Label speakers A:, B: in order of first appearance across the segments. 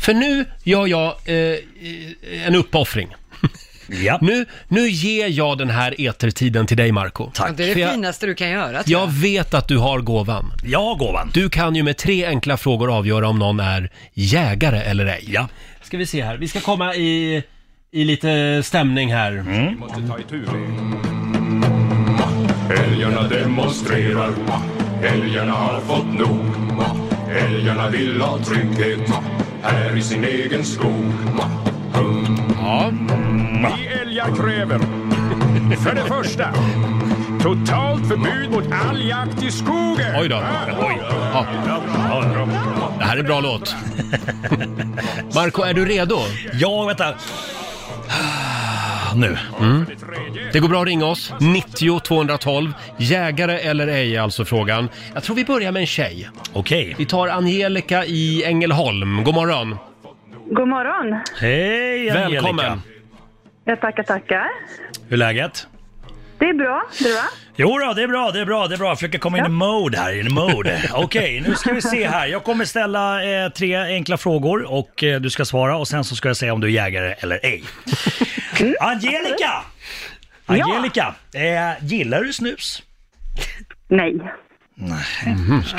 A: För nu gör jag eh, en uppoffring.
B: Ja.
A: Nu, nu ger jag den här etertiden till dig, Marco.
B: Tack.
C: Det är
A: För
C: det
A: jag,
C: finaste du kan göra. tror
A: jag vet att du har gåvan.
B: Ja, gåvan.
A: Du kan ju med tre enkla frågor avgöra om någon är jägare eller ej.
B: Ja.
A: Ska vi se här, vi ska komma i, i lite stämning här.
B: Mm.
D: måste ta itu. Älgarna demonstrerar. Älgarna har fått nog. Älgarna vill ha trygghet här i sin egen skog. Hum.
A: Ja.
D: Vi älgar kräver för det första totalt förbud mot all jakt i skogen.
A: Oj då.
D: Oj.
A: Ja, det här är en bra låt. Marco, är du redo?
B: Ja, vänta. Nu.
A: Det går bra att ringa oss. 90 212. Jägare eller ej är alltså frågan. Jag tror vi börjar med en tjej.
B: Okej.
A: Vi tar Angelica i Ängelholm. God morgon.
E: God morgon.
B: Hej Angelica.
A: Välkommen.
E: Jag tackar, tackar.
B: Hur är läget?
E: Det är bra. Du va?
B: Jo då, det är bra, det är bra, det är bra. Jag försöker komma in i mode här, in i mode. Okej, nu ska vi se här. Jag kommer ställa eh, tre enkla frågor och eh, du ska svara och sen så ska jag säga om du är jägare eller ej. Angelica! Angelica, eh, gillar du snus?
E: Nej.
C: jag.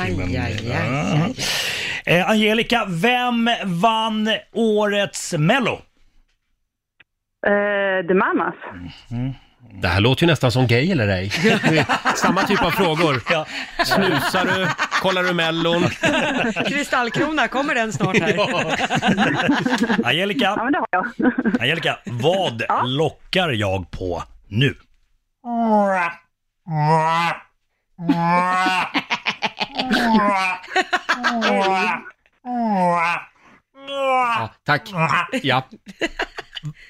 C: Aj, aj, aj.
B: Eh, Angelica, vem vann årets mello?
E: Uh, the Mamas.
A: Det här låter ju nästan som gay eller ej. Det är Samma typ av frågor.
B: Ja.
A: Snusar du? Kollar du mellon?
C: Kristallkrona, kommer den snart här?
E: Ja,
B: Angelica,
E: men det har jag.
B: Angelica, vad lockar jag på nu?
A: Ja, tack. Ja.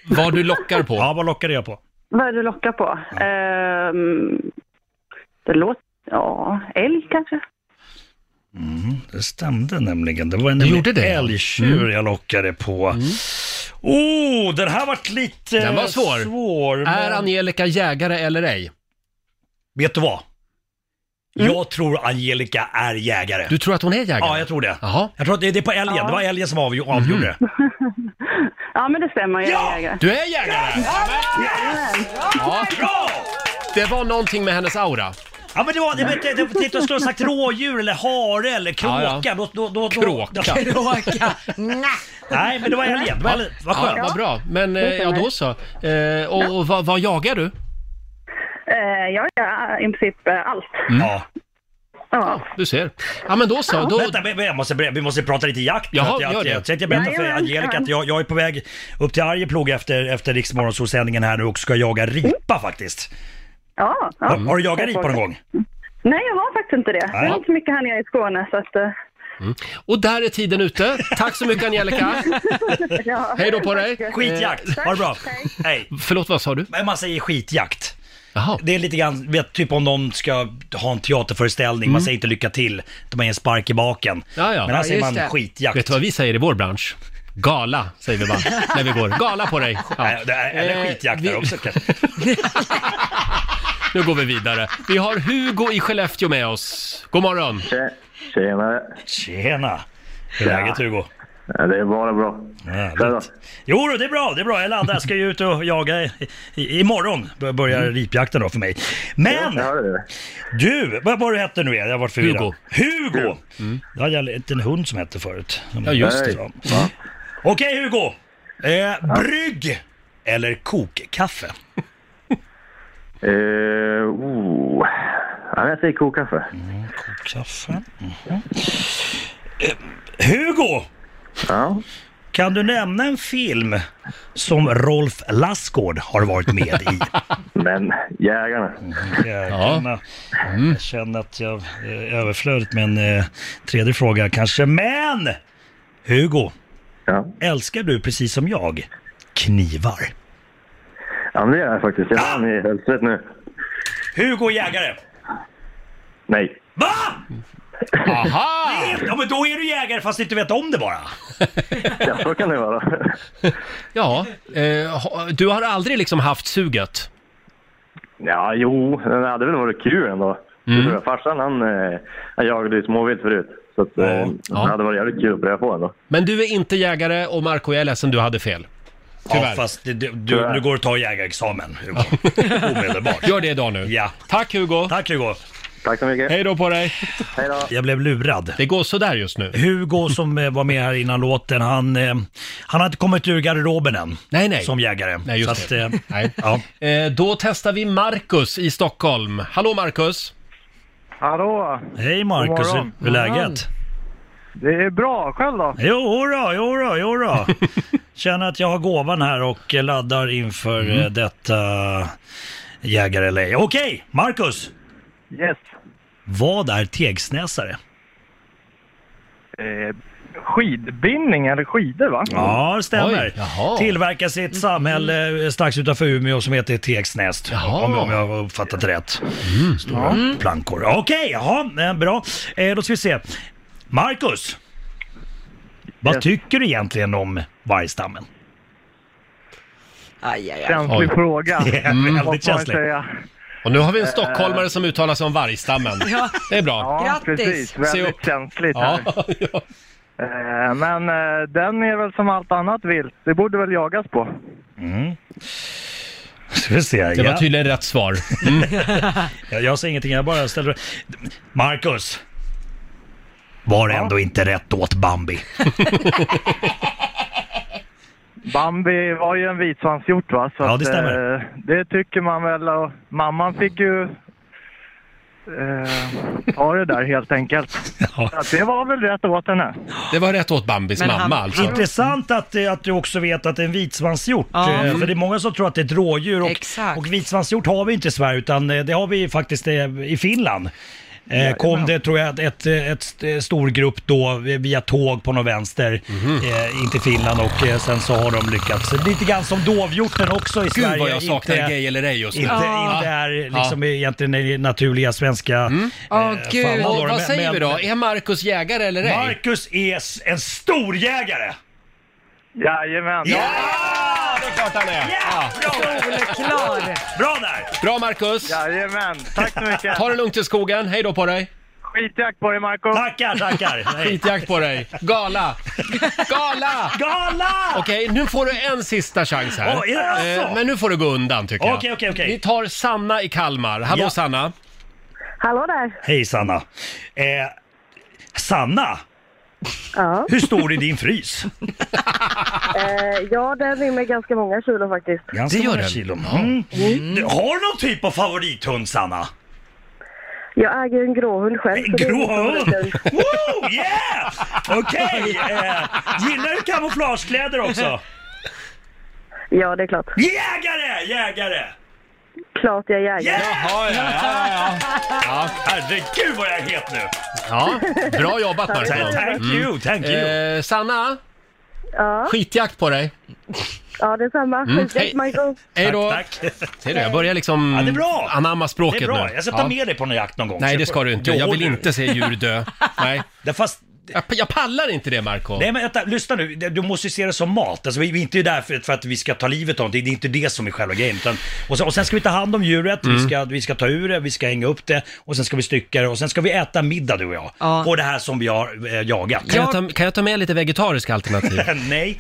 A: Vad du lockar på.
B: Ja, vad lockade jag på?
E: Vad är det du lockar på? Ehm, det låter... Ja, älg kanske?
B: Det stämde nämligen. Det var en
A: gjorde det, ja. Mm.
B: älgtjur jag lockade på. Oh, den här vart lite
A: Den var svår.
B: svår
A: Är
B: men-
A: Angelica jägare eller ej?
B: Vet du vad? Jag tror Angelica är jägare.
A: Mm. Du tror att hon är jägare?
B: Ja, jag tror det.
A: Jaha. Mhm.
B: Jag tror att det, det är på älgen. Det var älgen som avgj- avgjorde.
E: Ja, men det stämmer. Jag är
B: Ja!
E: jägare.
A: Du är jägare! Ja,
B: Bra!
A: det var någonting med hennes aura.
B: Ja men det var, det, det, det, titta jag skulle ha sagt rådjur eller hare eller kråka.
A: Ja, ja.
B: Då, då, då, då,
A: Kråka.
C: Bråka. Nä.
B: Nej men det var älgen, det var älgen. Vad
A: Ja,
B: skönt.
A: vad bra. Men eh, ja, då så. Eh, och och vad, vad jagar du?
E: Eh, jag gör i princip eh, allt.
A: Mm.
B: Ja.
E: Ja.
A: Du ser. Ja, men då så. Då,
B: Vänta, men- men jag måste, ber- vi måste prata lite jakt.
A: Jaha,
B: Att jag,
A: gör det.
B: Jag, jag tänkte berätta för
E: Jajamän,
B: Angelica att
E: jajamän.
B: jag, jag är på väg upp till Arjeplog efter, efter Riksmorgonsolsändningen här nu och ska jaga ripa faktiskt.
E: ja, ja.
B: Mm. Har, har du jagat ripa någon gång?
E: Nej, jag har faktiskt inte det. Jag
B: Nej.
E: har inte så mycket här nere i Skåne, så att... eh,
A: och där är tiden ute. Tack så mycket Angelica.
E: ja.
A: Hej då på dig.
B: Skitjakt! Ha det bra! Hej!
A: Förlåt, vad sa du?
B: Men man säger skitjakt.
A: Jaha.
B: Det är lite grann, vet, typ om någon ska ha en teaterföreställning, man säger inte lycka till, de ger en spark i baken.
A: Mm. Ja, ja.
B: Men här
A: Ja,
B: säger
C: just
B: man
C: det.
B: skitjakt.
A: Vet du vad vi säger i vår bransch? Gala, säger vi bara när vi går. Gala på dig! Ja.
B: Nej, det är, eller
A: Eh,
B: skitjakt
A: vi-
B: där också kanske.
A: Nu går vi vidare. Vi har Hugo i Skellefteå med oss. God morgon.
F: Tjenare.
B: Tjena! Hur är läget Hugo?
F: Ja, det är bara bra. Själv
B: Härligt.
F: då?
B: Jo, då, det är bra, det är bra. Jag laddar, jag ska ju ut och jaga i, i, imorgon. Bör- Börjar
A: Mm.
B: ripjakten då för mig. Men
F: Jag hörde det.
B: du, vad var du hette nu igen? Jag var förvirrad.
A: Hugo. Mm.
B: Hugo! Jag hade en liten hund som hette förut.
A: Ja, just
F: det.
B: Så. Okej Hugo! Eh, brygg eller kokkaffe?
F: Eh, oh. ja, men jag säger kokkaffe.
B: Kaffe. Mhm. Eh, Hugo!
F: Ja.
B: Kan du nämna en film som Rolf Lassgård har varit med i?
F: Men jägarna.
B: Jägarna. Mm. Jag känner att jag är överflödigt med en eh, tredje fråga kanske. Men! Hugo,
F: Ja,
B: älskar du precis som jag knivar?
F: ja men det gör jag faktiskt. Jag vann i hölstret nu.
B: Hugo Jägare!
F: Nej.
B: Va?
A: Aha!
B: Ja men då är du jägare fast du inte vet om det bara.
F: Ja, så kan det vara.
A: Ja, eh, ha- du har aldrig liksom haft suget?
F: Ja, jo, det hade väl varit kul ändå. Det tror jag. Farsan han, eh, han jagade ju småvilt förut. Så att, eh,
B: Ja.
F: det hade varit jävligt kul att pröva på ändå.
A: Men du är inte jägare och Marco, jag är ledsen, du hade fel. Tyvärr.
B: Ja, fast det, det, du, du går och tar jägarexamen, Hugo. Omedelbart.
A: Gör det idag nu.
B: Ja.
A: Tack Hugo!
B: Tack Hugo.
F: Tack så mycket.
A: Hej då på dig!
F: Hej då.
B: Jag blev lurad.
A: Det går sådär just nu.
B: Hugo som eh, var med här innan låten, han, eh, han har inte kommit ur garderoben än.
A: Nej, nej.
B: Som jägare.
A: Nej, just
B: Så
A: det.
B: att, eh,
A: Nej.
B: Ja.
A: Eh, då testar vi Marcus i Stockholm. Hallå Marcus!
G: Hallå!
B: Hej Marcus,
G: God
B: hur
G: morgon.
B: hur är läget?
G: Det är bra, själv då?
B: Jo då, jo då, jo då. Känner att jag har gåvan här och eh, laddar inför eh, detta jägare eller ej. Okej, Marcus!
G: Yes.
B: Vad är tegsnäsare?
G: Eh, skidbindning eller skidor va?
B: Ja, det stämmer.
A: Oj, jaha.
B: Tillverkas i ett samhälle eh, strax utanför Umeå som heter Tegsnäst.
A: Jaha.
B: Om, om jag har uppfattat rätt. Stora plankor. Okej, jaha, eh, bra. Eh, då ska vi se. Marcus! Vad tycker du egentligen om vargstammen?
C: Aj, aj, aj.
G: Känslig
A: Oj.
G: fråga. Mm, Vad
B: Väldigt
G: får man
B: känsligt.
G: säga?
A: Och nu har vi en stockholmare som uttalar sig om vargstammen.
C: Ja.
A: Det är bra.
G: Ja,
C: Grattis.
G: precis.
A: upp.
G: Väldigt känsligt här.
A: ja.
G: Eh, men eh, den är väl som allt annat vilt. Det borde väl jagas på.
B: Ska vi se.
A: Det var
B: Ja.
A: tydligen rätt svar.
B: Jag, jag säger ingenting, jag bara ställer... Marcus! Var ändå inte rätt åt Bambi.
G: Bambi var ju en vitsvanshjort va? Så
B: Ja,
G: att,
B: det stämmer.
G: eh, det tycker man väl. Och mamman fick ju eh, ta det där helt enkelt.
B: Ja.
G: Så att det var väl rätt åt henne.
A: Det var rätt åt Bambis
C: Men han-
A: mamma alltså.
B: Intressant att, eh, att du också vet att det är en vitsvanshjort.
C: Ja.
B: eh, För det är många som tror att det är ett rådjur. Och,
C: Exakt.
B: och vitsvanshjort har vi inte i Sverige utan eh, det har vi faktiskt eh, i Finland. Eh, kom det tror jag ett, eh, ett st- stor grupp då eh, via tåg på någon vänster
A: Mhm.
B: eh, in till Finland och eh, sen så har de lyckats. Lite grann som dovhjorten också i Sverige.
A: Gud vad jag saknar
B: inte-
A: gay eller ej just nu.
B: inte,
C: Ja.
B: inte är liksom egentligen den naturliga svenska...
A: Mm.
C: Åh
B: fan,
C: gud.
A: Och
B: vad-
A: vad
B: Men-
A: säger vi då?
B: men-
A: Är Marcus jägare eller ej?
B: Marcus är s- en storjägare!
G: Jajamän.
B: Ja!
A: Det är klart han är! Ja.
C: Solklar.
B: Bra där!
A: Bra Marcus!
G: Jajamän. Tack så mycket.
A: Ta det lugnt i skogen, hej då på dig!
G: Skitjakt på dig Marco.
B: Tackar, tackar! Hej.
A: Skitjakt på dig! Gala! Gala!
B: Gala!
A: Okej, nu får du en sista chans här.
B: Åh, är det alltså?
A: Eh, Men nu får du gå undan tycker jag.
B: Okej, okej, okej.
A: Vi tar Sanna i Kalmar. Hallå
B: Ja.
A: Sanna!
E: Hallå där.
B: Hej Sanna! Eh, Sanna!
E: Ja,
B: Hur stor är din frys?
E: eh, ja den rymmer ganska många kilo faktiskt.
B: Ganska
A: Det gör
B: många
A: den.
B: kilo. Mm. Du, Har du någon typ av favorithund Sanna?
E: Jag äger en gråhund själv. så det är
B: Grå
E: min
B: hund?
E: favorithund.
B: Woo, yeah! Okej! Eh, gillar du kamouflagekläder också?
E: Ja, det är klart.
B: Jägare! Jägare!
E: Klart jag är jägare.
B: Yeah!
A: Ja, ja, ja,
B: Herregud vad jag är het nu!
A: ja. ja. Bra jobbat
B: Ta-
A: Marco.
B: Thank you, thank you.
A: Eh, Sanna,
E: Ja,
A: skitjakt på dig.
E: ja detsamma. Skitjakt
A: hej.
E: Michael.
A: Hej då!
B: Tack, tack.
A: Ser du, jag börjar liksom
B: Ja, det är bra.
A: anamma
B: Det
A: språket
B: är bra,
A: nu.
B: jag ska ta
A: Ja.
B: med dig på någon jakt någon gång.
A: Nej,
B: Så
A: det ska
B: får-
A: du inte.
B: Jo,
A: Jag vill
B: du.
A: inte se djur dö. Nej.
B: Det- Fast,
A: Jag, jag pallar inte det, Marco.
B: nej men vänta, lyssna nu. Det- Du måste ju se det som mat. Alltså, vi vi är inte där för, för att vi ska ta livet av det. Det är inte det som är själva grejen. Utan, och, sen, och sen ska vi ta hand om djuret,
A: Mm.
B: vi, ska, vi ska ta ur det, vi ska hänga upp det och sen ska vi stycka det och sen ska vi äta middag du och jag.
C: Ja.
B: På det här som vi har eh, jagat.
A: Kan, jag ta, kan jag ta med lite vegetariska alternativ?
B: Nej.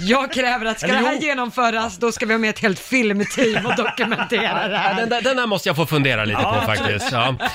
C: Jag kräver att ska det
B: Eller
C: här
B: jo.
C: genomföras, då ska vi ha med ett helt filmteam och dokumentera det
A: Ja,
C: här.
A: den, där, den där måste jag få fundera lite på faktiskt. Ja.